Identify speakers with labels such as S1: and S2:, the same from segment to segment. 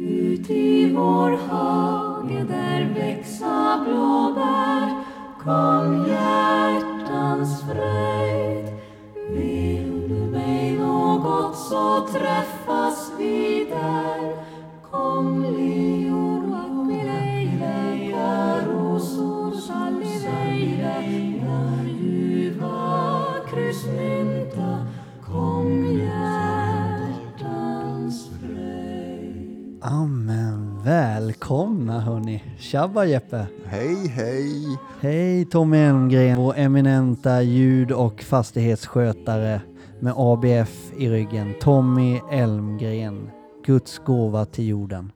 S1: Ut i vår hage där växa blåbär Kom hjärtans fröjd Vill du mig något så träffas vi där Kom lior, agnelejlejka, rosor, salvejlejka Ljuva, kryssmynta Kom hjärtans fröjd
S2: Amen. Välkomna hörni. Tjabba Jeppe.
S3: Hej, hej!
S2: Hej Tommy Elmgren, vår eminenta ljud och fastighetsskötare med ABF i ryggen. Tommy Elmgren. Guds gåva till jorden.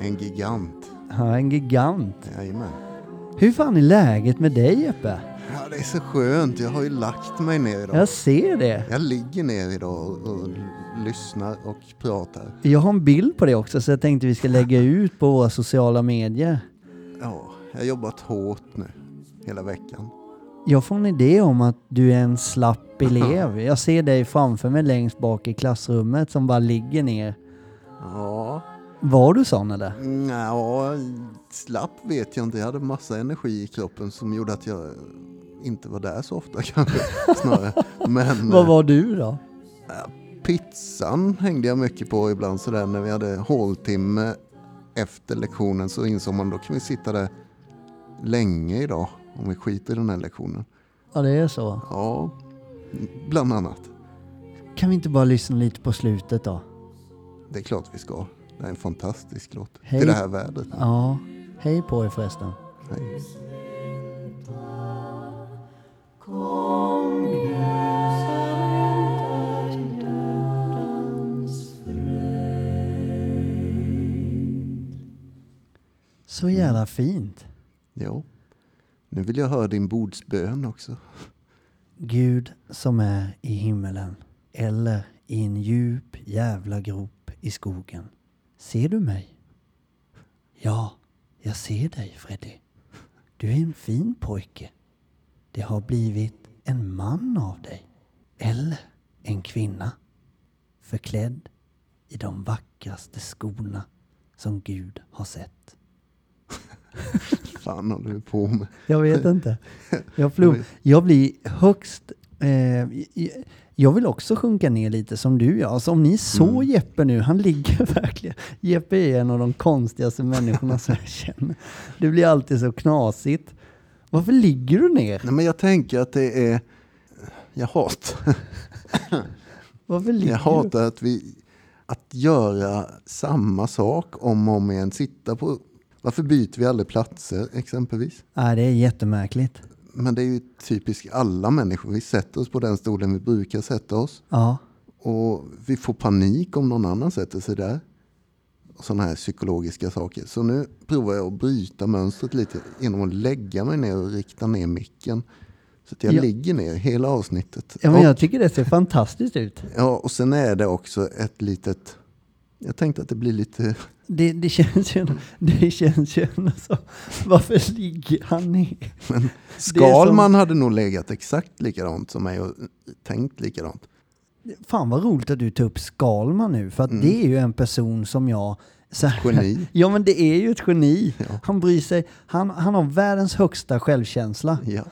S3: En gigant.
S2: Han är en gigant.
S3: Jajamän.
S2: Hur fan är läget med dig Jeppe?
S3: Ja, det är så skönt. Jag har ju lagt mig ner idag.
S2: Jag ser det.
S3: Jag ligger ner idag och, och lyssnar och pratar.
S2: Jag har en bild på det också så jag tänkte vi ska lägga ut på våra sociala medier.
S3: Ja, jag har jobbat hårt nu hela veckan.
S2: Jag får en idé om att du är en slapp elev. Jag ser dig framför mig längst bak i klassrummet som bara ligger ner.
S3: Ja,
S2: Var du sån eller?
S3: mm, ja slapp vet jag inte. Jag hade massa energi i kroppen som gjorde att jag inte var där så ofta kanske. Snarare. Men
S2: Vad var du då?
S3: eh, pizzan hängde jag mycket på ibland sådär när vi hade håltimme efter lektionen så insåg man då kan vi sitta där länge idag om vi skiter i den här lektionen.
S2: Ja, det är så.
S3: Ja, bland annat.
S2: Kan vi inte bara lyssna lite på slutet då?
S3: Det är klart vi ska. Det är en fantastisk låt.
S2: Hej.
S3: Till det här vädret.
S2: Ja. Hej på er förresten.
S3: Hej.
S1: Kom hjärtans
S2: Så jävla fint.
S3: Jo. Nu vill jag höra din bordsbön också.
S2: Gud som är i himmelen eller i en djup jävla grop i skogen. Ser du mig? Ja, jag ser dig Freddy. Du är en fin pojke. Det har blivit en man av dig. Eller en kvinna. Förklädd i de vackraste skorna som Gud har sett.
S3: fan håller du på med?
S2: Jag vet inte. Jag, flog. jag blir högst... Eh, j- jag vill också sjunka ner lite som du gör. Alltså, om ni såg
S3: Mm.
S2: Jeppe nu, han ligger verkligen... Jeppe är en av de konstigaste människorna som jag känner. Det blir alltid så knasigt. Varför ligger du ner?
S3: Nej men jag tänker att det är... Jag hatar,
S2: Varför ligger
S3: jag hatar att vi... Att göra samma sak om och om igen. Sitta på... Varför byter vi aldrig platser exempelvis?
S2: du? Nej, det är jättemärkligt.
S3: Men det är ju typiskt alla människor. Vi sätter oss på den stolen vi brukar sätta oss.
S2: Ja.
S3: Och vi får panik om någon annan sätter sig där. Och Sådana här psykologiska saker. Så nu provar jag att bryta mönstret lite genom att lägga mig ner och rikta ner micken. Så att jag
S2: Ja.
S3: ligger ner hela avsnittet.
S2: ja men
S3: och,
S2: jag tycker det ser fantastiskt ut.
S3: ja, och sen är det också ett litet... Jag tänkte att det blir lite...
S2: Det, det känns ju... Det känns ju ändå så. Varför ligger han ner?
S3: Skalman hade nog legat exakt likadant som mig och tänkt likadant.
S2: Fan vad roligt att du tar upp Skalman nu, för att det är ju en person som jag... Så här,
S3: Mm. Geni.
S2: ja men det är ju ett geni. Han bryr sig, han, han har världens högsta självkänsla.
S3: Ja.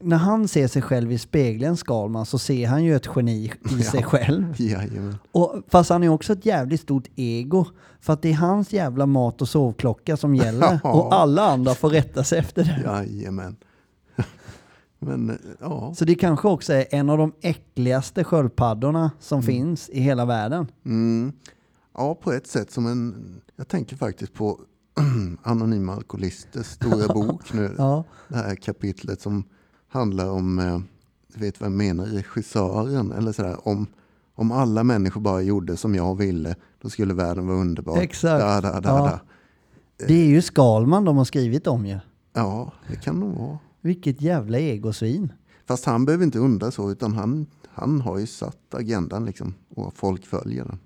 S2: När han ser sig själv i spegeln, Skalman, så ser han ju ett geni i sig själv.
S3: Jajamän.
S2: Och, fast han är också ett jävligt stort ego. För att det är hans jävla mat och sovklocka som gäller.
S3: Ja.
S2: Och alla andra får rätta sig efter det.
S3: Jajamän. Men eh, ja.
S2: Så det kanske också är en av de äckligaste sköldpaddorna som finns i hela världen.
S3: Mm. Ja, på ett sätt som en... Jag tänker faktiskt på Anonyma Alkoholisters stora bok nu.
S2: Ja.
S3: Det här kapitlet som handlar om, eh, du vet vad jag menar, regissören. Eller sådär, om, om alla människor bara gjorde som jag ville, då skulle världen vara underbar.
S2: Exakt.
S3: Da, da, da,
S2: Ja.
S3: da.
S2: Det är ju Skalman de har skrivit om ju.
S3: ja, det kan nog vara.
S2: Vilket jävla egosvin.
S3: Fast han behöver inte undra så, utan han, han har ju satt agendan liksom, och folk följer den.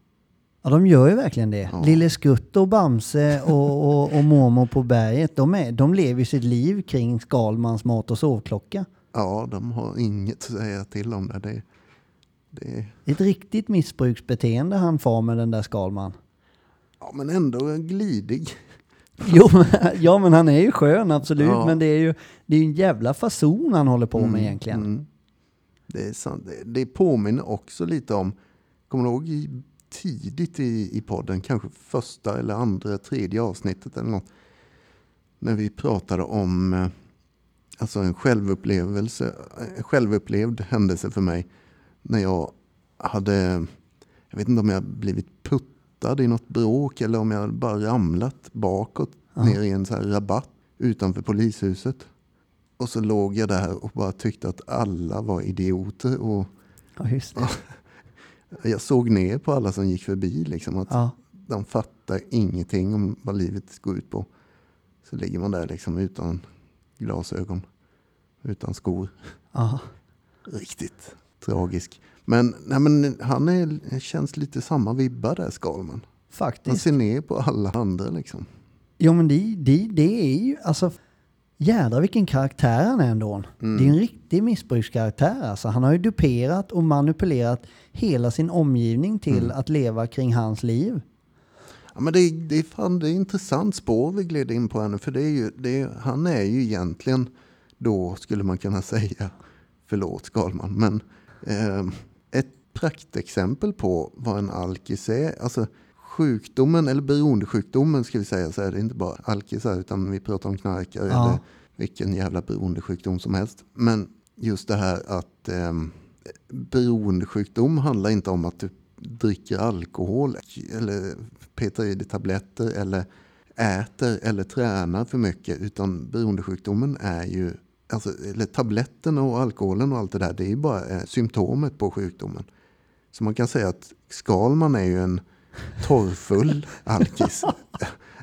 S2: Ja, de gör ju verkligen det. Lille Skutt och Bamse och, och, och Momo på berget, de, är, de lever ju sitt liv kring Skalmans mat och sovklocka.
S3: Ja, de har inget att säga till om det. det, det
S2: Ett riktigt missbruksbeteende han far med den där Skalman.
S3: Ja, men ändå glidig.
S2: Jo, men, ja, men han är ju skön, absolut.
S3: Ja.
S2: Men det är ju det är ju en jävla fason han håller på med egentligen.
S3: Mm. Det är sant. Det, det påminner också lite om, kommer du ihåg i- tidigt i, i podden, kanske första eller andra, tredje avsnittet eller något, när vi pratade om eh, alltså en självupplevelse, en självupplevd händelse för mig, när jag hade, jag vet inte om jag blivit puttad i något bråk eller om jag bara ramlat bakåt ner i en så här rabatt utanför polishuset. Och så låg jag där och bara tyckte att alla var idioter. Och
S2: Ja, just det.
S3: jag såg ner på alla som gick förbi. Liksom, att
S2: Ja.
S3: De fattar ingenting om vad livet går ut på. Så ligger man där liksom utan glasögon, utan skor.
S2: Ja.
S3: Riktigt tragisk. Men, nej, men han är, känns lite samma vibbar där, Skalman. Han
S2: Faktiskt.
S3: ser ner på alla andra liksom.
S2: Jo, men det, det, det är ju... Alltså, jädrar vilken karaktär han är ändå.
S3: Mm.
S2: Det är en riktig missbrukskaraktär. Alltså. Han har ju duperat och manipulerat hela sin omgivning till
S3: Mm.
S2: att leva kring hans liv.
S3: Ja, men det, det, är fan, det är intressant spår vi gled in på här nu. För det är ju, det är, han är ju egentligen, då skulle man kunna säga, förlåt Skalman, men eh, ett praktexempel på vad en alkis är. Alltså sjukdomen, eller beroendesjukdomen ska vi säga, så är det inte bara alkisar utan vi pratar om knarkare
S2: Ja.
S3: eller vilken jävla beroendesjukdom som helst. Men just det här att eh, beroendesjukdom handlar inte om att du dricker alkohol eller petar i dig tabletter eller äter eller tränar för mycket. Utan beroendesjukdomen är ju, alltså, eller tabletterna och alkoholen och allt det där, det är ju bara eh, symptomet på sjukdomen. Så man kan säga att Skalman är ju en torrfull alkis.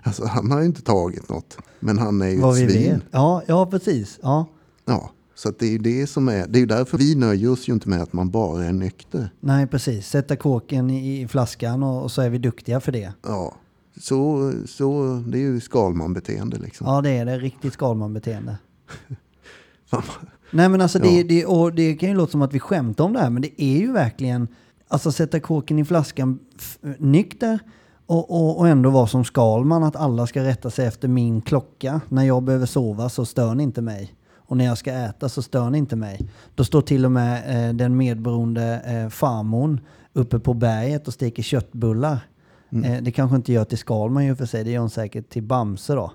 S3: Alltså han har ju inte tagit något, men han är ju
S2: Vad vi
S3: ett svin.
S2: vet. Ja, ja, precis. Ja.
S3: Ja, så att det är ju det som är, det är ju därför vi nöjer oss ju inte med att man bara är nykter.
S2: Nej, precis. Sätta kåken i i flaskan och, och så är vi duktiga för det.
S3: Ja, så, så det är ju skalmanbeteende liksom.
S2: Ja, det är det. Riktigt Skalman-beteende.
S3: Fan,
S2: Nej men alltså det,
S3: Ja.
S2: det, och det kan ju låta som att vi skämtar om det här men det är ju verkligen Alltså sätta kåken i flaskan f- nykter och, och, och ändå vara som Skalman att alla ska rätta sig efter min klocka. När jag behöver sova så stör ni inte mig. Och när jag ska äta så stör ni inte mig. Då står till och med eh, den medberoende eh, farmon uppe på berget och steker köttbullar. Eh, det kanske inte gör till Skalman ju för sig, det gör hon säkert till Bamse då.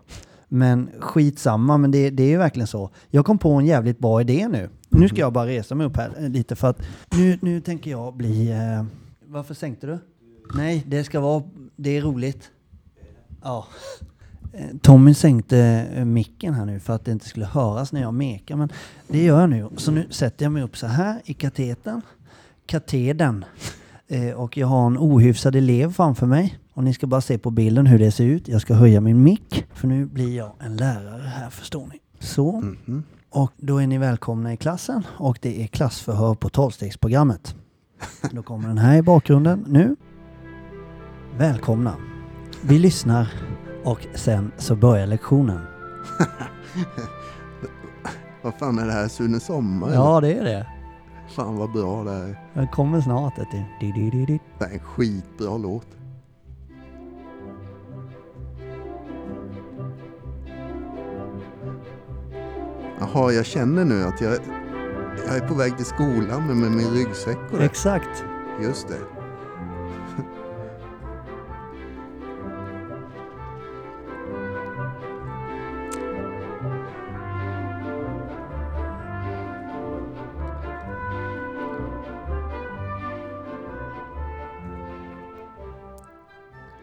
S2: Men skitsamma, men det, det är ju verkligen så. Jag kom på en jävligt bra idé nu. Nu ska jag bara resa mig upp här eh, lite för att nu, nu tänker jag bli... Eh, varför sänkte du? Nej, det ska vara... Det är roligt. Ja. Eh, Tommy sänkte eh, micken här nu för att det inte skulle höras när jag mekar. Men det gör jag nu. Så nu sätter jag mig upp så här i kateten. Kateden. Eh, Och jag har en ohyfsad elev framför mig. Och ni ska bara se på bilden hur det ser ut. Jag ska höja min mick. För nu blir jag en lärare här förstår ni. Så. Och då är ni välkomna i klassen. Och det är klassförhör på tolvstegsprogrammet. Då kommer den här i bakgrunden nu. Välkomna. Vi lyssnar och sen så börjar lektionen.
S3: vad fan är det här? Sune Sommar?
S2: Ja, det är det.
S3: eller? Fan vad bra det här är.
S2: Den kommer snart. Vet du. Di, di, di, di.
S3: Det här är en skitbra låt. Jaha, jag känner nu att jag, jag är på väg till skolan med, med min ryggsäck och det.
S2: Exakt.
S3: Just det.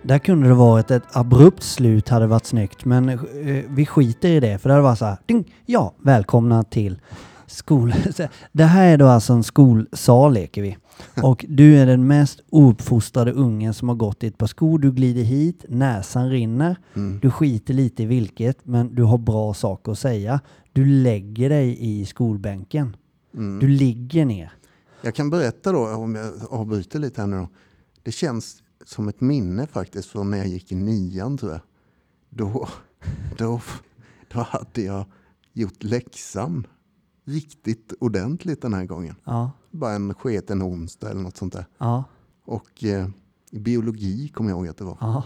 S2: Där kunde det varit ett abrupt slut hade varit snyggt. Men eh, vi skiter i det. För det hade varit så här. Ding, ja, välkomna till skol... Så det här är då alltså en skolsal leker vi. Och du är den mest ouppfostrade ungen som har gått i ett par skor. Du glider hit, näsan rinner. Du skiter lite i vilket, men du har bra saker att säga. Du lägger dig i skolbänken. Du ligger ner.
S3: Jag kan berätta då, om jag avbryter lite här nu då. Det känns som ett minne faktiskt från när jag gick i nian tror jag. Då, då, då hade jag gjort läxan riktigt ordentligt den här gången.
S2: Ja,
S3: Bara en sketen onsdag eller något sånt där.
S2: ja,
S3: Och eh, i biologi kommer jag ihåg att det var.
S2: ja.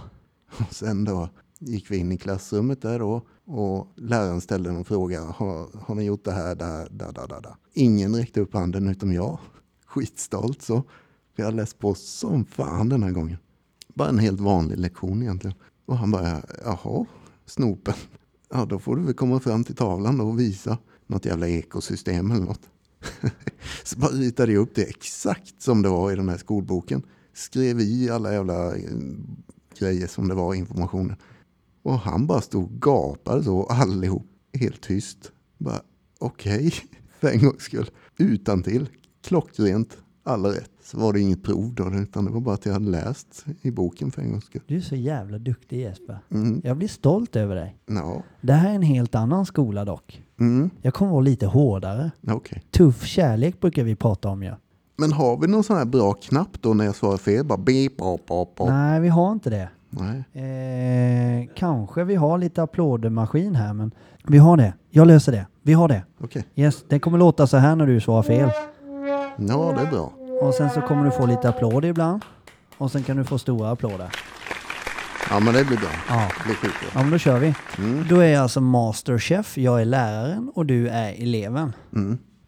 S3: Och sen då gick vi in i klassrummet där då och läraren ställde en fråga. Har, har ni gjort det här? Där, där, där, där, där? Ingen räckte upp handen utom jag. Skitstolt så. Vi hade läst på som fan den här gången. Bara en helt vanlig lektion egentligen. Och han bara, jaha, snopen. Ja, då får du väl komma fram till tavlan då och visa något jävla ekosystem eller något. så bara ritade jag upp det exakt som det var i den här skolboken. Skrev i alla jävla eh, grejer som det var i informationen. Och han bara stod och gapade så allihop, helt tyst. Bara okej, för en gångs skull. Utan till, klockrent, alla rätt. Så var det inget prov då, utan det var bara att jag hade läst i boken för en gångs skull.
S2: Du är så jävla duktig Jesper.
S3: Mm.
S2: Jag blir stolt över dig.
S3: Ja,
S2: Det här är en helt annan skola dock.
S3: mm.
S2: Jag kommer vara lite hårdare.
S3: okej.
S2: Tuff kärlek brukar vi prata om ju.
S3: Men har vi någon sån här bra knapp då när jag svarar fel? Bara beep, bop, bop, bop.
S2: Nej, vi har inte det.
S3: Nej.
S2: Eh, kanske vi har lite applådmaskin här, men vi har det. Jag löser det. Vi har det.
S3: Okej.
S2: Yes, det kommer låta så här när du svarar fel.
S3: Ja, det är bra.
S2: Och sen så kommer du få lite applåder ibland. Och sen kan du få stora applåder.
S3: Ja, men det blir bra.
S2: Ja.
S3: Det blir skitbra.
S2: Ja, men då kör vi. Då är jag alltså masterchef, jag är läraren och du är eleven.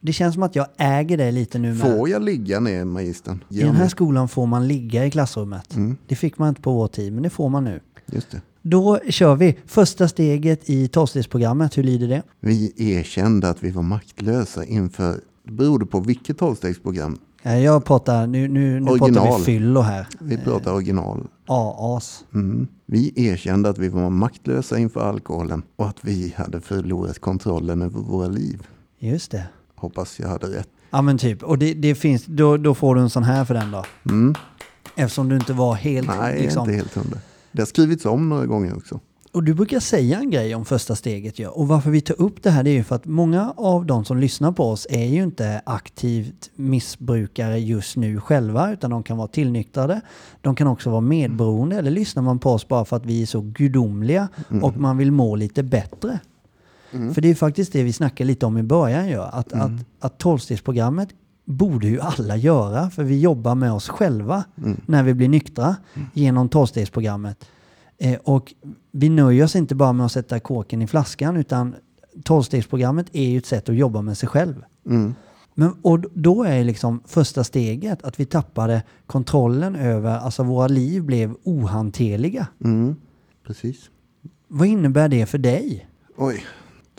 S2: Det känns som att jag äger dig lite nu med.
S3: Får jag ligga ner, magistern?
S2: I den här skolan får man ligga i klassrummet.
S3: Mm.
S2: Det fick man inte på vår tid, men det får man nu.
S3: Just det.
S2: Då kör vi. Första steget i tolvstegsprogrammet, hur lyder det?
S3: Vi erkände att vi var maktlösa inför... Det berodde på vilket tolvstegsprogram.
S2: Eh, Jag pratar, nu, nu, nu pratar
S3: Original.
S2: vi fyllo här.
S3: Vi pratar original.
S2: AAs.
S3: Mm. Vi erkände att vi var maktlösa inför alkoholen och att vi hade förlorat kontrollen över våra liv.
S2: Just det.
S3: Hoppas jag hade rätt.
S2: Ja men typ, och det, det finns, då, då får du en sån här för den då. Eftersom du inte var helt
S3: Mm. Nej,
S2: liksom.
S3: inte helt hundra. Det har skrivits om några gånger också.
S2: Och du brukar säga en grej om första steget ju. Och varför vi tar upp det här det är ju för att många av de som lyssnar på oss är ju inte aktivt missbrukare just nu själva utan de kan vara tillnyktrade. De kan också vara medberoende eller lyssnar man på oss bara för att vi är så gudomliga och man vill må lite bättre. För det är ju faktiskt det vi snackade lite om i början ju. Att, att, att tolvstegsprogrammet borde ju alla göra för vi jobbar med oss själva när vi blir nyktra genom tolvstegsprogrammet. Eh, och vi nöjer oss inte bara med att sätta kåken i flaskan utan tolvstegsprogrammet är ju ett sätt att jobba med sig själv. Men, och då är liksom första steget att vi tappade kontrollen över, alltså våra liv blev ohanterliga.
S3: Mm. Precis.
S2: Vad innebär det för dig?
S3: Oj.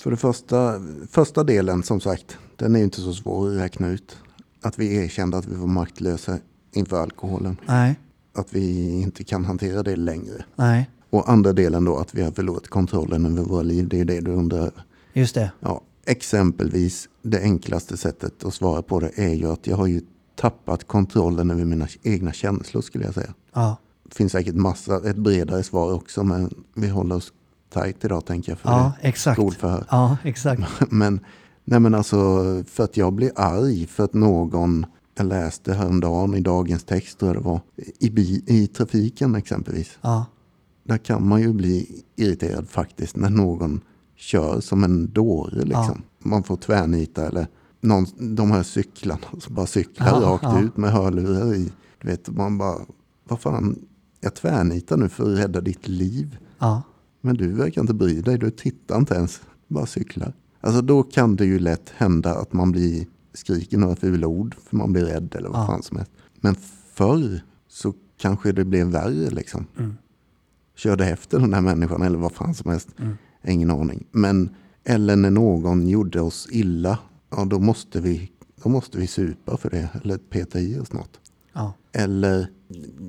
S3: För det första, första delen som sagt, den är ju inte så svår att räkna ut. Att vi erkände att vi var maktlösa inför alkoholen.
S2: Nej,
S3: Att vi inte kan hantera det längre.
S2: nej,
S3: Och andra delen då, att vi har förlorat kontrollen över våra liv. Det är det du undrar över.
S2: just det.
S3: Ja, exempelvis det enklaste sättet att svara på det är ju att jag har ju tappat kontrollen över mina egna känslor skulle jag säga.
S2: Ja,
S3: Det finns säkert massa, ett bredare svar också men vi håller oss tight idag tänker jag. För
S2: ja
S3: det.
S2: exakt.
S3: skolförhör.
S2: Ja, exakt.
S3: Men, nej men alltså, för att jag blir arg för att någon, jag läste häromdagen i dagens text tror jag det var, i, bi, i trafiken exempelvis.
S2: Ja,
S3: Där kan man ju bli irriterad faktiskt när någon kör som en dåre liksom. Man får tvärnita eller någon, de här cyklarna som bara cyklar
S2: Ja,
S3: rakt
S2: ja.
S3: ut med hörlurar i. Du vet, man bara, vad fan, jag tvärnitar nu för att rädda ditt liv.
S2: ja,
S3: Men du verkar inte bry dig, du tittar inte ens, bara cyklar. Alltså då kan det ju lätt hända att man blir skriker några fula ord för man blir rädd eller vad
S2: Ja.
S3: fan som helst. Men förr så kanske det blev värre liksom.
S2: Mm.
S3: Körde efter den här människan eller vad fan som helst.
S2: Mm.
S3: Ingen aning. Men eller när någon gjorde oss illa, ja då måste vi, då måste vi supa för det eller peta i oss något.
S2: ja.
S3: Eller,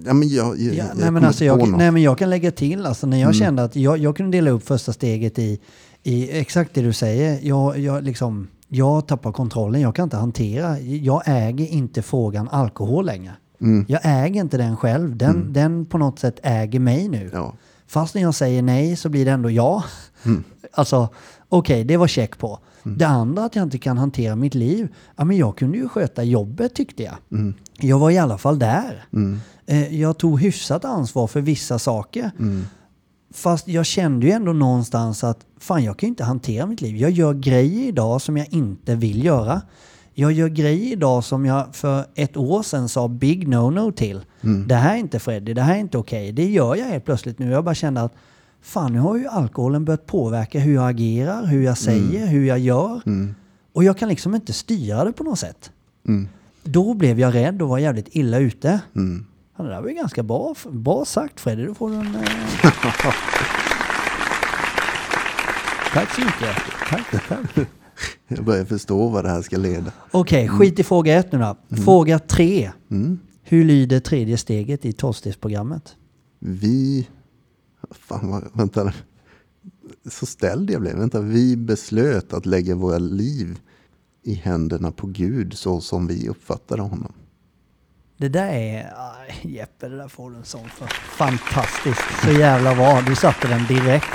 S3: ja men jag,
S2: Ja,
S3: jag, jag
S2: nej, men
S3: kommer
S2: alltså
S3: inte på
S2: jag,
S3: något. Mm.
S2: nej, men jag kan lägga till, alltså, när jag kände att jag, jag kunde dela upp första steget i, i exakt det du säger. Jag, jag, liksom, jag tappar kontrollen, jag kan inte hantera. Jag äger inte frågan alkohol längre.
S3: Mm.
S2: Jag äger inte den själv. Den, den på något sätt äger mig nu.
S3: Ja.
S2: Fast när jag säger nej så blir det ändå ja. Alltså, okej, det var check på. Det andra att jag inte kan hantera mitt liv. Ja, men jag kunde ju sköta jobbet tyckte jag. Jag var i alla fall där. Eh, Jag tog hyfsat ansvar för vissa saker. Fast jag kände ju ändå någonstans att fan jag kan ju inte hantera mitt liv. Jag gör grejer idag som jag inte vill göra. Jag gör grejer idag som jag för ett år sedan sa big no-no till. Det här är inte Freddy, det här är inte okej. Det gör jag helt plötsligt nu. Jag bara kände att fan nu har ju alkoholen börjat påverka hur jag agerar, hur jag säger, hur jag gör. Och jag kan liksom inte styra det på något sätt. Då blev jag rädd och var jävligt illa ute. Ja, det där var ju ganska bra, bra sagt Freddy. Du får en... Eh... Tack så mycket. Tack, tack.
S3: Jag börjar förstå vad det här ska leda.
S2: Okej, skit i fråga ett nu då. Fråga tre. Hur lyder tredje steget i tolvstegsprogrammet?
S3: Vi... Fan, vad, vänta. nu. Så ställd jag blev. Vänta, vi beslöt att lägga våra liv i händerna på Gud så som vi uppfattade honom.
S2: Det där är... aj, Jeppe, det där får du en sån för. Fantastiskt. Så jävla bra. Du satte den direkt.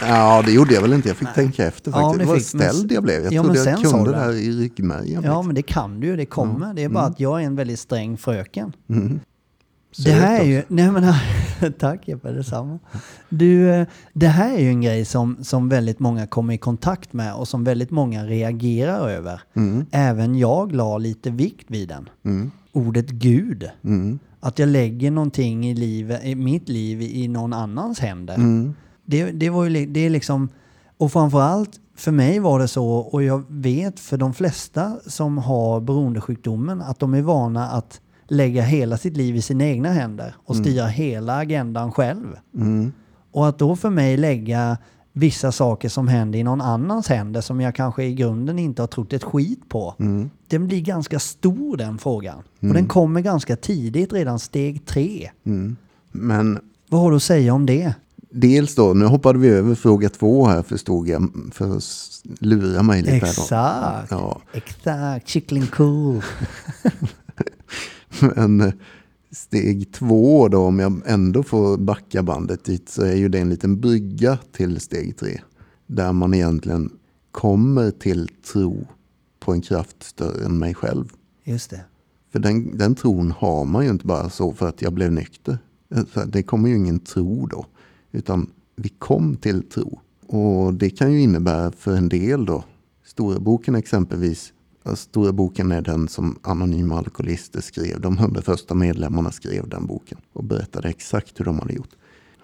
S3: Ja, det gjorde jag väl inte. Jag fick tänka efter
S2: Ja,
S3: faktiskt.
S2: det
S3: det var
S2: fick- men-
S3: ställd jag blev. Jag
S2: Ja,
S3: trodde
S2: men
S3: jag
S2: sen sa
S3: kunde
S2: du
S3: det
S2: det.
S3: här i ryggmärgen.
S2: Ja,
S3: liksom.
S2: men det kan du ju. Det kommer. Det är bara att jag är en väldigt sträng fröken. Det
S3: Söt
S2: här är
S3: också.
S2: ju... Nej, men, tack Jeppe, detsamma. Du, eh, det här är ju en grej som, som väldigt många kommer i kontakt med och som väldigt många reagerar över. Även jag la lite vikt vid den. Ordet Gud. Att jag lägger någonting i, livet, i mitt liv i någon annans händer. Det, det, var ju, li- det är liksom... Och framförallt för mig var det så, och jag vet för de flesta som har beroendesjukdomen, att de är vana att lägga hela sitt liv i sina egna händer och styra hela agendan själv. Och att då för mig lägga vissa saker som händer i någon annans händer som jag kanske i grunden inte har trott ett skit på. Den blir ganska stor den frågan. Och den kommer ganska tidigt, redan steg tre.
S3: Men
S2: Vad har du att säga om det?
S3: dels då, nu hoppade vi över fråga två här förstod jag, för att s- lura mig lite. här då.
S2: Exakt!
S3: Ja,
S2: Exakt, kyckling cool.
S3: men eh, steg två då, om jag ändå får backa bandet dit, så är ju det en liten brygga till steg tre. Där man egentligen kommer till tro på en kraft större än mig själv.
S2: Just det.
S3: För den, den tron har man ju inte bara så för att jag blev nykter. För Det kommer ju ingen tro då. Utan vi kom till tro. Och det kan ju innebära för en del då. Stora boken exempelvis. ja, Stora boken är den som Anonyma Alkoholister skrev. De hundra första medlemmarna skrev den boken. Och berättade exakt hur de hade gjort.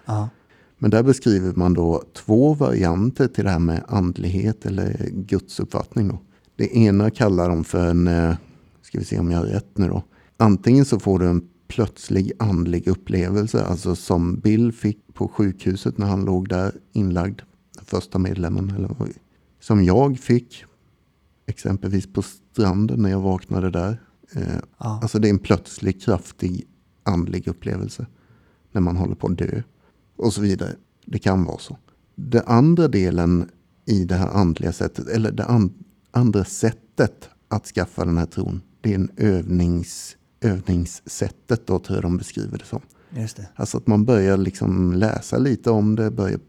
S2: Ja.
S3: Men där beskriver man då två varianter till det här med andlighet eller gudsuppfattning. Då. Det ena kallar de för en, eh, ska vi se om jag har rätt nu då. Antingen så får du en plötslig andlig upplevelse, alltså som Bill fick på sjukhuset när han låg där inlagd, den första medlemmen, eller vad, som jag fick exempelvis på stranden när jag vaknade där. Eh,
S2: Ja.
S3: Alltså det är en plötslig kraftig andlig upplevelse när man håller på att dö och så vidare. Det kan vara så. Den andra delen i det här andliga sättet, eller det an- andra sättet att skaffa den här tron, det är en övnings, övningssättet då tror jag de beskriver det som.
S2: Just det.
S3: Alltså att man börjar liksom läsa lite om det, börjar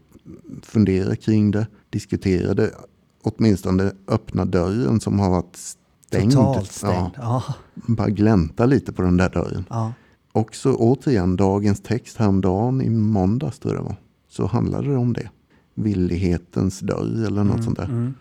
S3: fundera kring det, diskutera det, åtminstone öppna dörren som har varit stängd.
S2: Totalt stängd.
S3: Ja,
S2: Ja.
S3: bara glänta lite på den där dörren.
S2: Ja.
S3: Också återigen dagens text häromdagen i måndags tror jag det var. Så handlade det om det. Villighetens dörr eller något sånt där.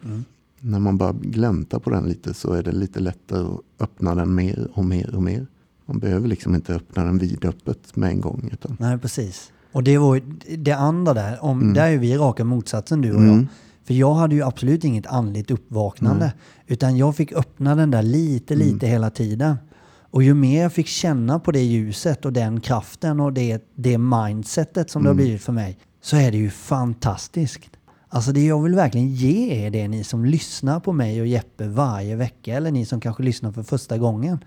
S3: När man bara gläntar på den lite så är det lite lättare att öppna den mer och mer och mer. Man behöver liksom inte öppna den vidöppet med en gång. Utan,
S2: Nej, precis. Och det var ju det andra där. Om, Där är vi raka motsatsen du och jag. För jag hade ju absolut inget andligt uppvaknande. Utan jag fick öppna den där lite, lite hela tiden. Och ju mer jag fick känna på det ljuset och den kraften och det, det mindsetet som det har blivit för mig. Så är det ju fantastiskt. Alltså det jag vill verkligen ge är det ni som lyssnar på mig och Jeppe varje vecka eller ni som kanske lyssnar för första gången.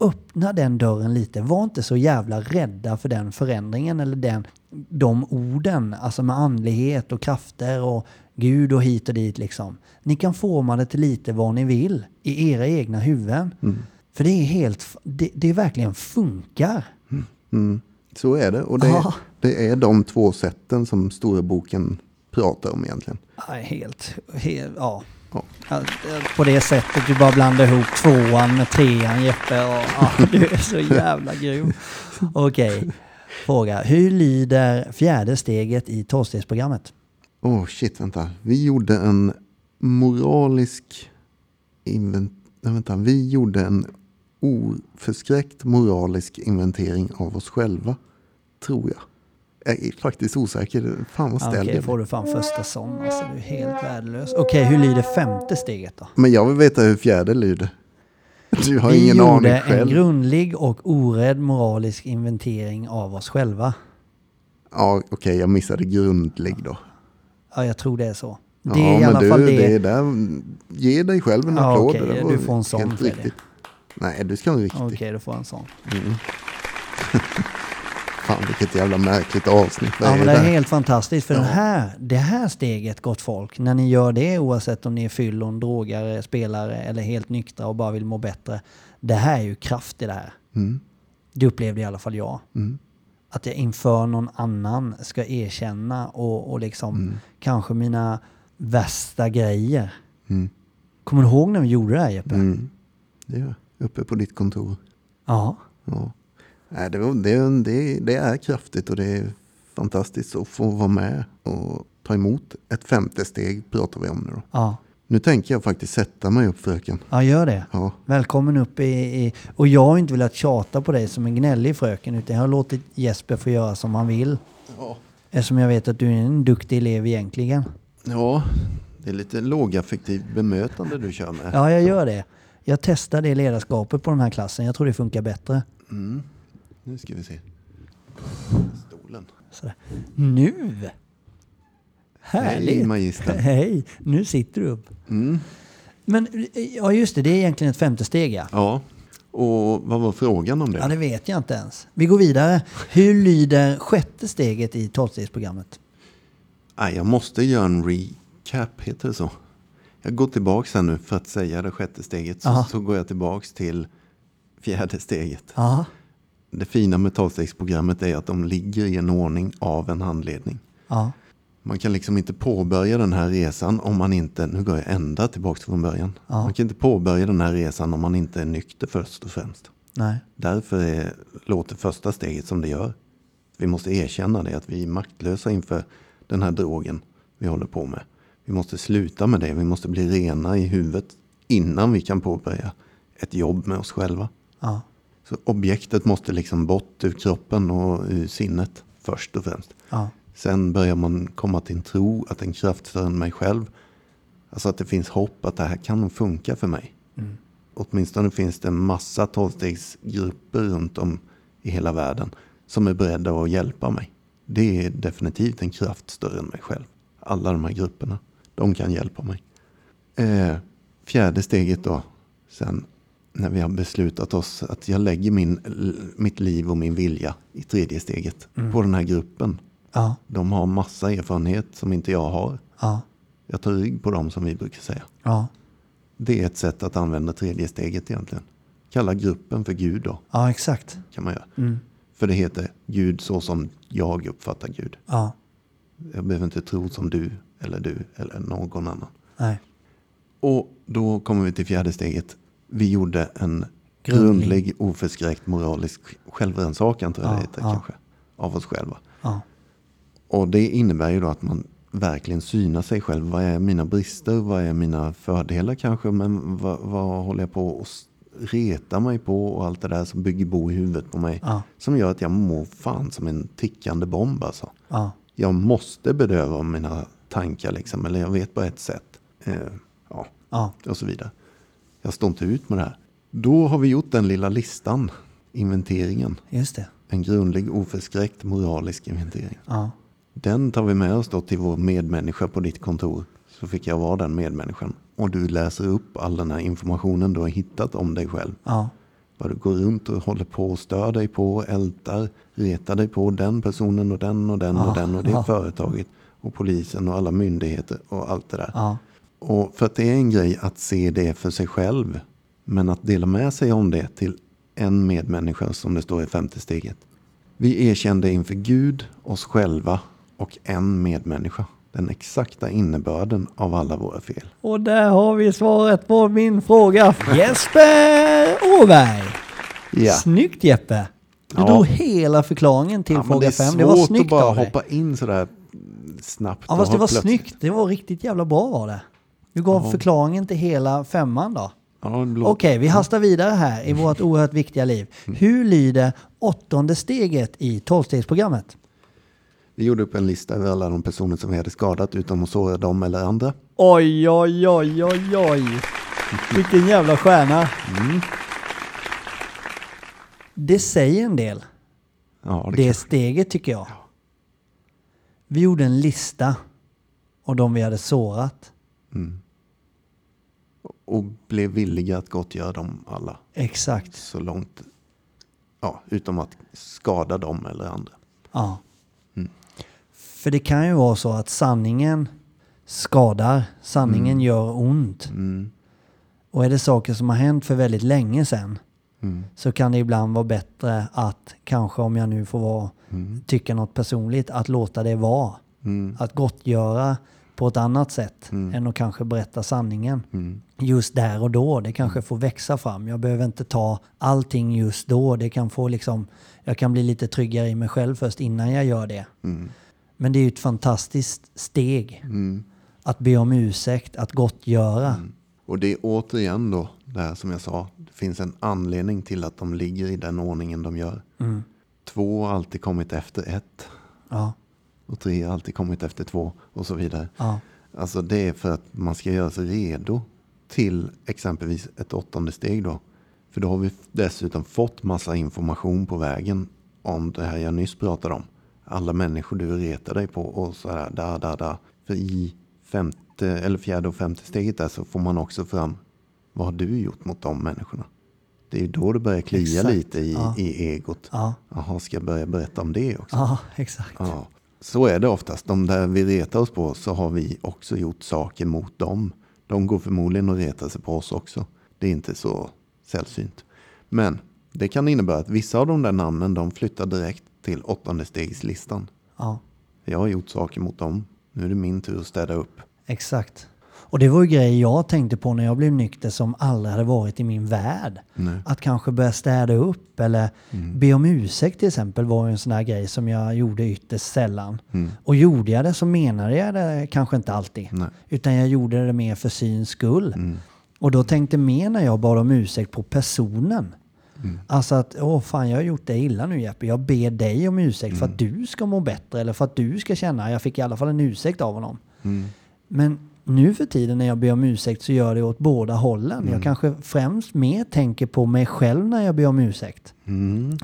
S2: Öppna den dörren lite. Var inte så jävla rädda för den förändringen eller den, de orden. Alltså med andlighet och krafter och Gud och hit och dit liksom. Ni kan forma det till lite vad ni vill i era egna huvuden. För det är helt, f- det, det verkligen funkar.
S3: så är det. Och det,
S2: Ja.
S3: det är de två sätten som stora boken pratar om egentligen.
S2: Ja, helt, helt ja.
S3: Ja.
S2: Ja, På det sättet du bara blandar ihop tvåan med trean Jeppe. Och, ja, du är så jävla grym. Okej, fråga. Hur lyder fjärde steget i tolvstegsprogrammet?
S3: Oh, Åh shit, vänta. Vi gjorde en moralisk invent... Nej, vänta. Vi gjorde en oförskräckt moralisk inventering av oss själva. Tror jag. Jag är faktiskt osäker. Fan vad
S2: Okej,
S3: ställd jag
S2: får du fan första sån. Alltså, du är helt värdelös. Okej, hur lyder femte steget då?
S3: Men jag vill veta hur fjärde lyder. Du har
S2: Vi
S3: ingen
S2: gjorde
S3: aning
S2: en
S3: själv.
S2: grundlig och orädd moralisk inventering av oss själva.
S3: ja, okej, jag missade grundlig då.
S2: Ja, jag tror det är så. Det
S3: ja,
S2: är i
S3: men
S2: alla
S3: du,
S2: fall det.
S3: är där. Ge dig själv en
S2: Ja,
S3: applåd.
S2: okej,
S3: Det
S2: du
S3: var
S2: får en sån,
S3: helt
S2: Fredrik.
S3: riktigt. Nej, du ska ha en riktig.
S2: Okej, då får jag en sån.
S3: Fan, vilket jävla märkligt avsnitt. Vad
S2: Ja,
S3: är
S2: men
S3: det
S2: det är
S3: här?
S2: helt fantastiskt. För den här, det här steget, gott folk, när ni gör det oavsett om ni är fyllon, drogare, spelare eller helt nyktra och bara vill må bättre. Det här är ju kraft i det här.
S3: Mm.
S2: Det upplevde i alla fall jag. Att jag inför någon annan ska erkänna och, och liksom
S3: Mm.
S2: kanske mina värsta grejer. Kommer du ihåg när vi gjorde det här Jeppe?
S3: Mm. Det är uppe på ditt kontor.
S2: Ja.
S3: Ja. Nej, det, var- det, det, det är kraftigt och det är fantastiskt att få vara med och ta emot. Ett femte steg pratar vi om nu då.
S2: ja.
S3: Nu tänker jag faktiskt sätta mig upp fröken.
S2: Ja, gör det.
S3: Ja.
S2: Välkommen upp i, i... Och jag har inte velat tjata på dig som en gnällig fröken utan jag har låtit Jesper få göra som han vill.
S3: Ja.
S2: Eftersom jag vet att du är en duktig elev egentligen.
S3: ja, det är lite lågaffektivt bemötande du kör med.
S2: Ja, jag gör det. Jag testar det ledarskapet på den här klassen. Jag tror det funkar bättre.
S3: Nu ska vi se. Stolen.
S2: Sådär. Nu! Härligt!
S3: Hej magistern. Mm.
S2: Hej! Nu sitter du upp. Men ja, just det. Det är egentligen ett femte steg ja.
S3: Ja, och vad var frågan om det?
S2: Ja, det vet jag inte ens. Vi går vidare. Hur lyder sjätte steget i tolvstegsprogrammet?
S3: Nej, jag måste göra en recap, heter det så? Jag går tillbaks här nu för att säga det sjätte steget. Så,
S2: Aha.
S3: så går jag tillbaks till fjärde steget.
S2: Ja.
S3: Det fina med tolvstegsprogrammet är att de ligger i en ordning av en handledning.
S2: Ja.
S3: Man kan liksom inte påbörja den här resan om man inte, nu går jag ända tillbaks från början. Man kan inte påbörja den här resan om man inte är nykter först och främst.
S2: Nej.
S3: Därför är, låter första steget som det gör. Vi måste erkänna det, att vi är maktlösa inför den här drogen vi håller på med. Vi måste sluta med det, vi måste bli rena i huvudet innan vi kan påbörja ett jobb med oss själva.
S2: Ja.
S3: Så objektet måste liksom bort ur kroppen och ur sinnet först och främst.
S2: Ja.
S3: Sen börjar man komma till en tro att en kraft större än mig själv, alltså att det finns hopp att det här kan nog funka för mig. Åtminstone finns det en massa tolvstegsgrupper runt om i hela världen som är beredda att hjälpa mig. Det är definitivt en kraft större än mig själv. Alla de här grupperna, de kan hjälpa mig. Eh, fjärde steget då, sen när vi har beslutat oss att jag lägger min, mitt liv och min vilja i tredje steget på den här gruppen.
S2: Ja.
S3: De har massa erfarenhet som inte jag har.
S2: Ja.
S3: Jag tar rygg på dem som vi brukar säga.
S2: Ja.
S3: Det är ett sätt att använda tredje steget egentligen. Kalla gruppen för Gud då,
S2: Ja, exakt.
S3: kan man göra.
S2: Mm.
S3: För det heter Gud så som jag uppfattar Gud.
S2: Ja.
S3: Jag behöver inte tro som du eller du eller någon annan.
S2: Nej.
S3: Och då kommer vi till fjärde steget. Vi gjorde en
S2: Grundlig.
S3: grundlig, oförskräckt moralisk självrannsakan tror jag
S2: Ja,
S3: det heter
S2: ja.
S3: kanske. Av oss själva.
S2: Ja.
S3: Och det innebär ju då att man verkligen synar sig själv. Vad är mina brister? Vad är mina fördelar kanske? Men vad, vad håller jag på att s- reta mig på? Och allt det där som bygger bo i huvudet på mig.
S2: Ja.
S3: Som gör att jag mår fan som en tickande bomb alltså.
S2: Ja.
S3: Jag måste bedöva mina tankar liksom. Eller jag vet bara ett sätt. Eh, ja,
S2: Ja.
S3: och så vidare. Jag står inte ut med det här. Då har vi gjort den lilla listan. Inventeringen.
S2: Just det.
S3: En grundlig oförskräckt moralisk inventering.
S2: Ja.
S3: Den tar vi med oss då till vår medmänniska på ditt kontor. Så fick jag vara den medmänniskan. Och du läser upp all den här informationen du har hittat om dig själv.
S2: Ja.
S3: Vad du går runt och håller på och stör dig på, ältar, retar dig på den personen och den och den och den och det
S2: ja.
S3: företaget och polisen och alla myndigheter och allt det där.
S2: Ja.
S3: Och för att det är en grej att se det för sig själv, men att dela med sig om det till en medmänniska som det står i femte steget. Vi erkände inför Gud, oss själva och en medmänniska den exakta innebörden av alla våra fel.
S2: Och där har vi svaret på min fråga. Jesper Åberg!
S3: Ja.
S2: Snyggt Jeppe! Du
S3: Ja.
S2: drog hela förklaringen till
S3: Ja, men
S2: fråga
S3: det är
S2: fem. Det var
S3: svårt att
S2: snyggt
S3: bara
S2: av dig.
S3: hoppa in sådär snabbt.
S2: Ja,
S3: och
S2: fast det
S3: ha
S2: var
S3: plötsligt-
S2: snyggt. Det var riktigt jävla bra var det. Du gav förklaringen till hela femman då.
S3: Ja, en blå-
S2: Okej, vi hastar vidare här i vårt oerhört viktiga liv.
S3: Mm.
S2: Hur lyder åttonde steget i tolvstegsprogrammet?
S3: Vi gjorde upp en lista över alla de personer som vi hade skadat utan att såra dem eller andra.
S2: Oj, oj, oj, oj, oj. Vilken jävla stjärna. Det säger en del.
S3: Ja, det
S2: Det
S3: kan-
S2: steget tycker jag. Vi gjorde en lista av de vi hade sårat.
S3: Och blev villiga att gottgöra dem alla.
S2: Exakt.
S3: Så långt. Ja, utom att skada dem eller andra.
S2: Ja. För det kan ju vara så att sanningen skadar, sanningen gör ont. Och är det saker som har hänt för väldigt länge sedan så kan det ibland vara bättre att, kanske om jag nu får vara, tycka något personligt, att låta det vara. Att gottgöra på ett annat sätt än att kanske berätta sanningen just där och då. Det kanske får växa fram. Jag behöver inte ta allting just då. Det kan få liksom, jag kan bli lite tryggare i mig själv först innan jag gör det. Men det är ju ett fantastiskt steg. Att be om ursäkt, att gottgöra.
S3: Och det är återigen då det här som jag sa. Det finns en anledning till att de ligger i den ordningen de gör.
S2: Mm.
S3: Två har alltid kommit efter ett.
S2: Ja,
S3: Och tre har alltid kommit efter två. Och så vidare.
S2: ja,
S3: Alltså det är för att man ska göra sig redo till exempelvis ett åttonde steg då. För då har vi dessutom fått massa information på vägen om det här jag nyss pratade om. Alla människor du retar dig på och så här, da, da, da. För i femte, eller fjärde och femte steget där så får man också fram vad har du gjort mot de människorna? Det är ju då det börjar klia
S2: Exakt,
S3: lite i,
S2: ja.
S3: i egot.
S2: Ja.
S3: Jaha, ska jag börja berätta om det också?
S2: ja Ah, exakt.
S3: Ja, så är det oftast. De där vi retar oss på så har vi också gjort saker mot dem. De går förmodligen och retar sig på oss också. Det är inte så sällsynt. Men det kan innebära att vissa av de där namnen de flyttar direkt till åttonde stegslistan.
S2: Ja,
S3: Jag har gjort saker mot dem. Nu är det min tur att städa upp.
S2: exakt. Och det var ju grejer jag tänkte på när jag blev nykter som aldrig hade varit i min värld. Att kanske börja städa upp eller be om ursäkt till exempel var ju en sån här grej som jag gjorde ytterst sällan. Och gjorde jag det så menade jag det kanske inte alltid.
S3: Nej.
S2: Utan jag gjorde det mer för syns skull. Och då tänkte mer när jag bad om ursäkt på personen. Alltså att, åh fan jag har gjort dig illa nu Jeppe. Jag ber dig om ursäkt för att du ska må bättre eller för att du ska känna, jag fick i alla fall en ursäkt av honom. Men nu för tiden när jag ber om ursäkt så gör jag det åt båda hållen. Jag kanske främst mer tänker på mig själv när jag ber om ursäkt.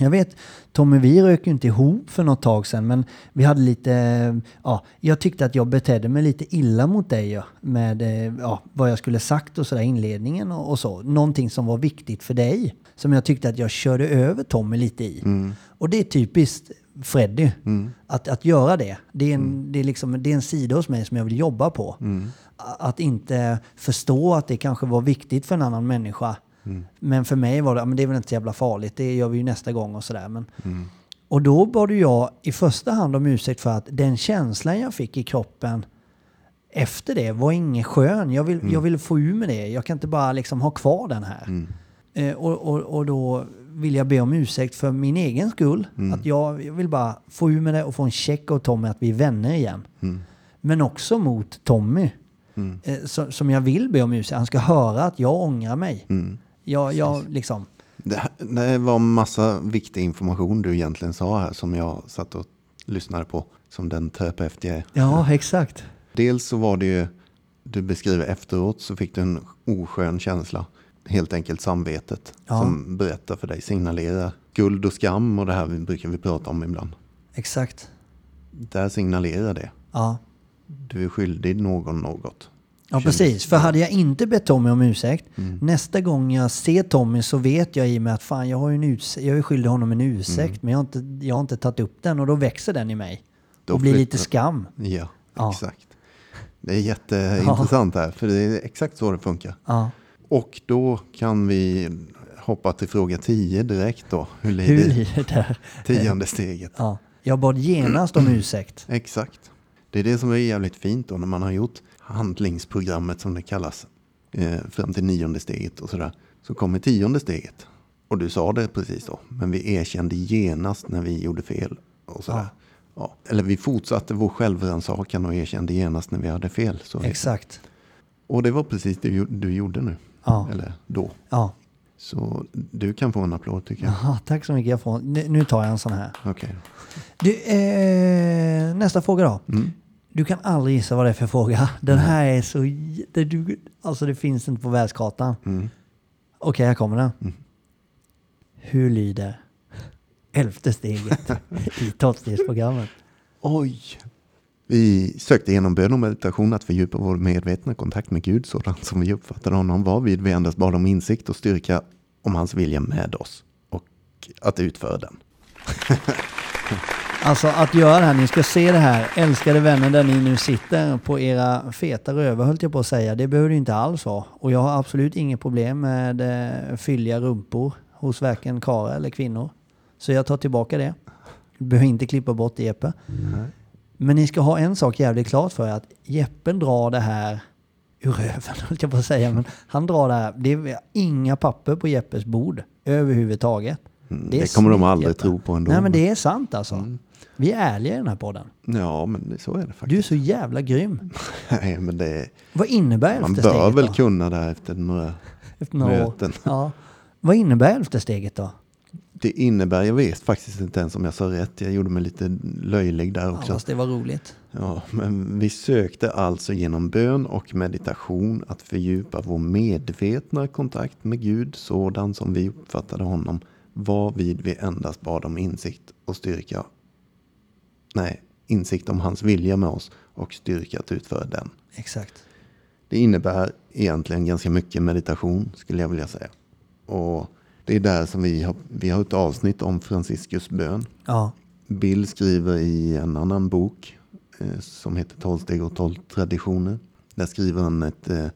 S2: Jag vet, Tommy vi rök ju inte ihop för något tag sedan men vi hade lite, eh, ja, jag tyckte att jag betedde mig lite illa mot dig ja, med eh, ja, vad jag skulle sagt och sådär i inledningen och, och så. Någonting som var viktigt för dig som jag tyckte att jag körde över Tommy lite i. Och det är typiskt Freddy att, att göra det. Det är, en, det, är liksom, det är en sida hos mig som jag vill jobba på. A- Att inte förstå att det kanske var viktigt för en annan människa. Men för mig var det, "Ja, men det är väl inte så jävla farligt, det gör vi ju nästa gång och sådär. Men, Och då bad ju jag i första hand om ursäkt för att den känslan jag fick i kroppen efter det var ingen skön. Jag vill, jag vill få ur med det. Jag kan inte bara liksom ha kvar den här. Eh, och, och, och då vill jag be om ursäkt för min egen skull. Att jag, jag vill bara få ur med det och få en check av Tommy att vi är vänner igen. Men också mot Tommy. Eh, som, som jag vill be om ursäkt. Han ska höra att jag ångrar mig. Jag, jag liksom...
S3: Det, här- det var massa viktig information du egentligen sa här som jag satt och lyssnade på. Som den terapeut jag är.
S2: Ja, exakt.
S3: Dels så var det ju, du beskriver efteråt så fick du en oskön känsla. Helt enkelt samvetet
S2: Ja.
S3: som berättar för dig, signalerar guld och skam och det här vi brukar vi prata om ibland.
S2: Exakt.
S3: Där signalerar det.
S2: Ja.
S3: Du är skyldig någon något.
S2: Ja,
S3: Kändes-
S2: precis. För hade jag inte bett Tommy om ursäkt,
S3: Mm.
S2: nästa gång jag ser Tommy så vet jag i mig att fan, jag, har ju en urs- jag är skyldig honom en ursäkt,
S3: Mm.
S2: men jag har, inte, jag har inte tagit upp den och då växer den i mig.
S3: Då
S2: och blir lite
S3: flyttar-
S2: skam.
S3: Ja,
S2: Ja.
S3: exakt. Det är jätteintressant här, för det är exakt så det funkar.
S2: Ja.
S3: Och då kan vi hoppa till fråga 10 direkt då. Hur
S2: Hur
S3: lyder
S2: blir det där?
S3: tionde steget?
S2: Ja. Jag bad genast om ursäkt.
S3: Exakt. Det är det som är jävligt fint då när man har gjort handlingsprogrammet som det kallas. Eh, fram till nionde steget och sådär. Så kommer tionde steget. Och du sa det precis då. Men vi erkände genast när vi gjorde fel. Och sådär. Ja. Eller vi fortsatte vår självrannsakan och erkände genast när vi hade fel. Så heter det.
S2: Exakt.
S3: och det var precis det ju- du gjorde nu.
S2: Ja.
S3: Eller då.
S2: Ja.
S3: Så du kan få en applåd tycker jag.
S2: Jaha, tack så mycket. Jag får, nu nu tar jag en sån här.
S3: Okej.
S2: Du, eh, nästa fråga då. Du kan aldrig gissa vad det är för fråga. Den här är så... j- Det, du, alltså det finns inte på världskartan. Okej, här kommer den. Hur lyder elfte steget i tolvstegsprogrammet?
S3: Oj! Vi sökte genom bön och meditation att fördjupa vår medvetna kontakt med Gud sådant som vi uppfattade honom var vid vi endast bad om insikt och styrka om hans vilja med oss och att utföra den.
S2: Alltså att göra det här, ni ska se det här. Älskade vänner där ni nu sitter på era feta rövar höll jag på att säga. Det behöver det inte alls vara. Och jag har absolut inget problem med eh, fylliga rumpor hos varken karlar eller kvinnor. Så jag tar tillbaka det. Du behöver inte klippa bort det, Jeppe. Men ni ska ha en sak jävligt klart för er att Jeppen drar det här ur röven höll jag på att säga. Men han drar det här. Det är inga papper på Jeppes bord överhuvudtaget. är
S3: Mm, det kommer de
S2: snyggt,
S3: aldrig
S2: Jeppe.
S3: tro på ändå,
S2: Nej men
S3: men- Mm.
S2: det är sant alltså. Vi är ärliga i den här podden.
S3: Ja, men det- så är det
S2: Du
S3: faktiskt.
S2: är så jävla grym.
S3: Nej, men det,
S2: Vad innebär
S3: man
S2: elfte
S3: bör
S2: steget
S3: väl
S2: då?
S3: kunna det här efter några...
S2: Efter några år.
S3: möten.
S2: Ja. Vad innebär elfte steget då?
S3: Det innebär, jag vet faktiskt inte ens om jag sa rätt, jag gjorde mig lite löjlig där
S2: Ja,
S3: också.
S2: fast det var roligt.
S3: Ja, men vi sökte alltså genom bön och meditation att fördjupa vår medvetna kontakt med Gud sådan som vi uppfattade honom varvid vi endast bad om insikt och styrka. Nej, insikt om hans vilja med oss och styrka att utföra den.
S2: Exakt.
S3: Det innebär egentligen ganska mycket meditation skulle jag vilja säga. Och det är där som vi har, vi har ett avsnitt om Franciscus bön.
S2: Ja.
S3: Bill skriver i en annan bok eh, som heter 12 steg och 12 traditioner. Där skriver han ett eh,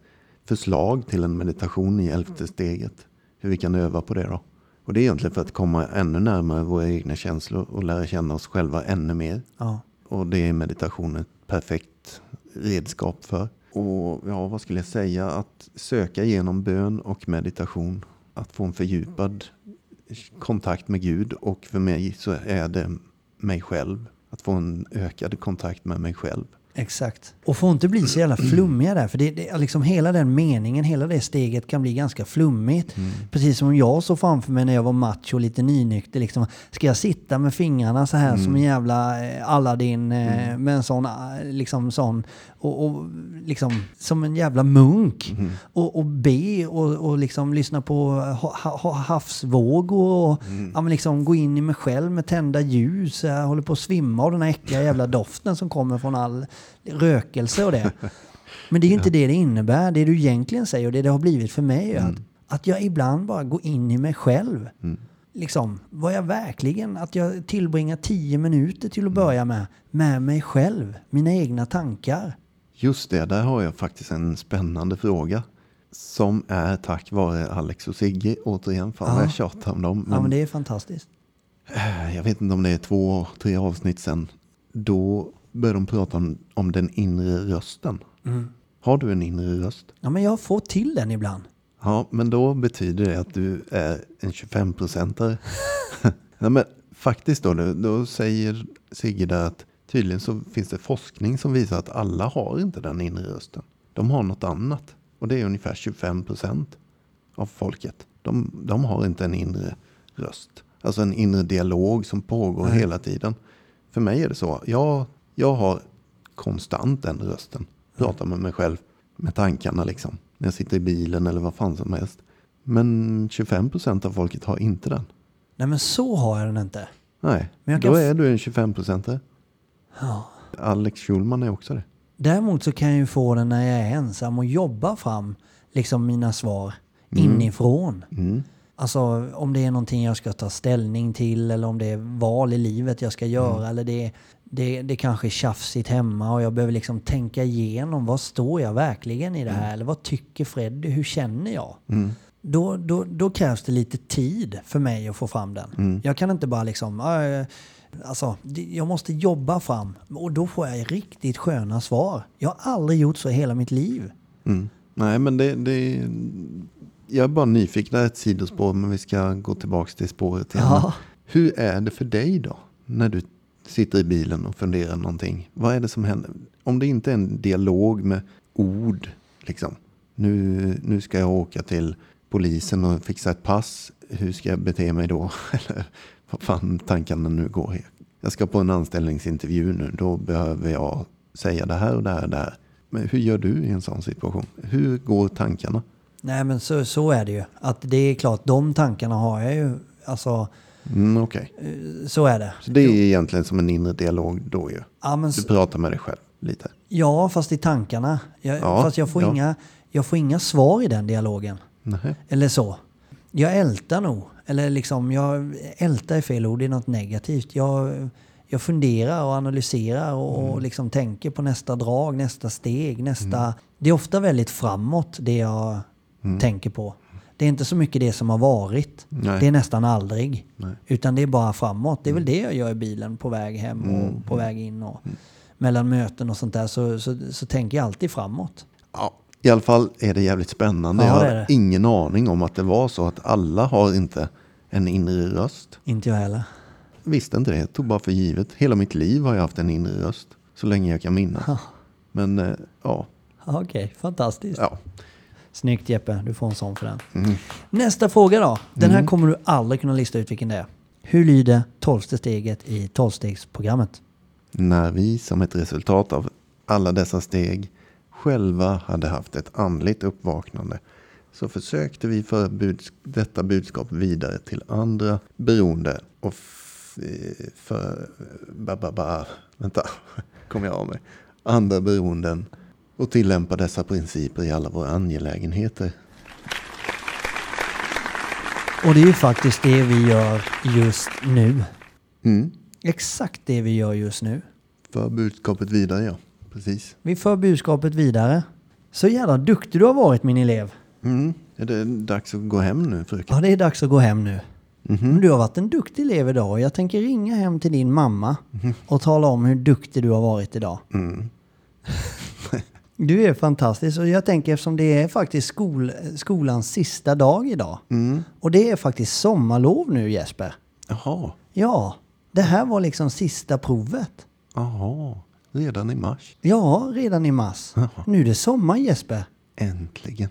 S3: förslag till en meditation i elfte steget. Hur vi kan öva på det då. Och det är egentligen för att komma ännu närmare våra egna känslor och lära känna oss själva ännu mer.
S2: Ja.
S3: Och det är meditation ett perfekt redskap för. Och ja, vad skulle jag säga? Att söka genom bön och meditation. Att få en fördjupad kontakt med Gud. Och för mig så är det mig själv. Att få en ökad kontakt med mig själv.
S2: Exakt. Och får inte bli så jävla flummiga där. För det, det, är liksom hela den meningen, hela det steget kan bli ganska flummigt. Precis som jag såg framför mig när jag var match och lite nynykter. Liksom, ska jag sitta med fingrarna så här som en jävla eh, Aladdin eh, med en sån, eh, liksom sån, och, och liksom som en jävla munk. Och, och be och, och liksom lyssna på ha, ha- ha, havsvågor och ja, men liksom gå in i mig själv med tända ljus. Jag håller på att svimma av den här äckliga jävla doften som kommer från all rökelse och det. Men det är ju inte det det innebär. Det du egentligen säger och det det har blivit för mig är att, att jag ibland bara går in i mig själv. Liksom, vad jag verkligen, att jag tillbringar tio minuter till att börja med, med mig själv, mina egna tankar.
S3: Just det, där har jag faktiskt en spännande fråga. Som är tack vare Alex och Sigge. Återigen, fan vad jag tjatar om dem.
S2: Ja,
S3: men-
S2: men det är fantastiskt.
S3: Eh, jag vet inte om det är två, tre avsnitt sen. Då började de prata om, om den inre rösten. Har du en inre röst?
S2: Ja, men jag får till den ibland.
S3: Ja, men då betyder det att du är en 25-procentare. Nej, men faktiskt då, då- då säger Sigge där att tydligen så finns det forskning som visar att alla har inte den inre rösten. De har något annat. Och det är ungefär 25 procent av folket. De, de har inte en inre röst. Alltså en inre dialog som pågår hela tiden. För mig är det så. Jag, jag har konstant den rösten. Pratar med mig själv. Med tankarna liksom. När jag sitter i bilen eller vad fan som helst. Men 25 procent av folket har inte den.
S2: Nej, men så har jag den inte.
S3: Nej,
S2: Men jag
S3: då
S2: kan f-
S3: är du en 25-procentare. Alex Schulman är också det.
S2: Däremot så kan jag ju få den när jag är ensam och jobba fram liksom mina svar inifrån. Alltså om det är någonting jag ska ta ställning till eller om det är val i livet jag ska göra eller det, det, det kanske är tjafsigt hemma och jag behöver liksom tänka igenom vad står jag verkligen i det här eller vad tycker Freddy, hur känner jag? Då, då, då krävs det lite tid för mig att få fram den.
S3: Mm.
S2: Jag kan inte bara liksom, "Ah, Alltså, det- jag måste jobba fram och då får jag riktigt sköna svar. Jag har aldrig gjort så i hela mitt liv.
S3: Mm. Nej, men det, det... Jag är bara nyfiken, det är ett sidospår, men vi ska gå tillbaka till spåret igen.
S2: Ja.
S3: Hur är det för dig då? När du sitter i bilen och funderar någonting. Vad är det som händer? Om det inte är en dialog med ord, liksom. Nu, nu ska jag åka till polisen och fixa ett pass. Hur ska jag bete mig då? Eller vad fan tankarna nu går. Jag ska på en anställningsintervju nu. Då behöver jag säga det här och det här och det här. Men hur gör du i en sån situation? Hur går tankarna?
S2: Nej men så, så är det ju. Att det är klart, de tankarna har jag ju. Alltså,
S3: Mm, Okej.
S2: så är det.
S3: Så det är egentligen som en inre dialog då ju.
S2: Ja, men,
S3: Du
S2: s-
S3: pratar med dig själv lite.
S2: ja fast i tankarna. Jag,
S3: Ja,
S2: fast jag får,
S3: ja.
S2: inga, jag får inga svar i den dialogen.
S3: Nej.
S2: Eller så. Jag ältar nog. Eller liksom, jag ältar är fel ord, det är något negativt. Jag, jag funderar och analyserar och, och liksom tänker på nästa drag, nästa steg, nästa... Det är ofta väldigt framåt det jag tänker på. Det är inte så mycket det som har varit.
S3: Nej.
S2: Det är nästan aldrig.
S3: Nej.
S2: Utan det är bara framåt. Det är väl det jag gör i bilen på väg hem och på väg in. Och Mellan möten och sånt där så, så, så tänker jag alltid framåt.
S3: Ja, I alla fall är det jävligt spännande.
S2: Ja,
S3: jag
S2: det
S3: hade
S2: är det.
S3: ingen aning om att det var så att alla har inte en inre röst.
S2: Inte jag heller.
S3: Visste inte det, jag tog bara för givet. Hela mitt liv har jag haft en inre röst. Så länge jag kan minnas. Men eh, ja,
S2: Okej, fantastiskt.
S3: ja.
S2: Snyggt Jeppe, du får en sån för den. Nästa fråga då. Den här kommer du aldrig kunna lista ut vilken det är. Hur lyder tolfte steget i tolvstegsprogrammet?
S3: När vi som ett resultat av alla dessa steg själva hade haft ett andligt uppvaknande så försökte vi föra buds- detta budskap vidare till andra beroende och f- eh, för... Ba, ba, ba, vänta, kom jag av mig. Andra beroenden och tillämpa dessa principer i alla våra angelägenheter.
S2: Och det är ju faktiskt det vi gör just nu.
S3: Mm.
S2: Exakt det vi gör just nu.
S3: För budskapet vidare, ja. Precis.
S2: Vi för budskapet vidare. Så jävla duktig du har varit min elev.
S3: Mm. Är det dags att gå hem nu, fröken?
S2: Ja, det är dags att gå hem nu. Men Du har varit en duktig elev idag och jag tänker ringa hem till din mamma och tala om hur duktig du har varit idag. du är fantastisk och jag tänker eftersom det är faktiskt skol, skolans sista dag idag och det är faktiskt sommarlov nu Jesper.
S3: Jaha.
S2: Ja, det här var liksom sista provet.
S3: Jaha, redan i mars.
S2: Ja, redan i mars. Nu är det sommar Jesper.
S3: Äntligen.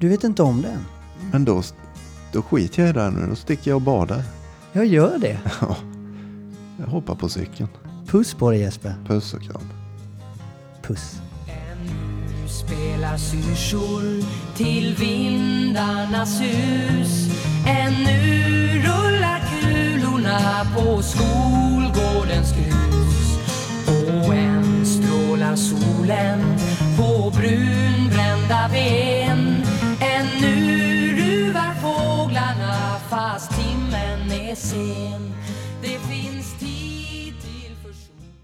S2: Du vet inte om det än.
S3: Men då, då skiter jag i det här nu. Då sticker jag och badar.
S2: Jag gör det.
S3: Ja. Jag hoppar på cykeln.
S2: Puss på dig Jesper.
S3: Puss och kram.
S2: Puss.
S1: Ännu spelar syrsor till vindarnas hus Ännu rullar kulorna på skolgårdens grus Och än strålar solen på brunbrända ben Ännu ruvar fåglarna fast timmen är sen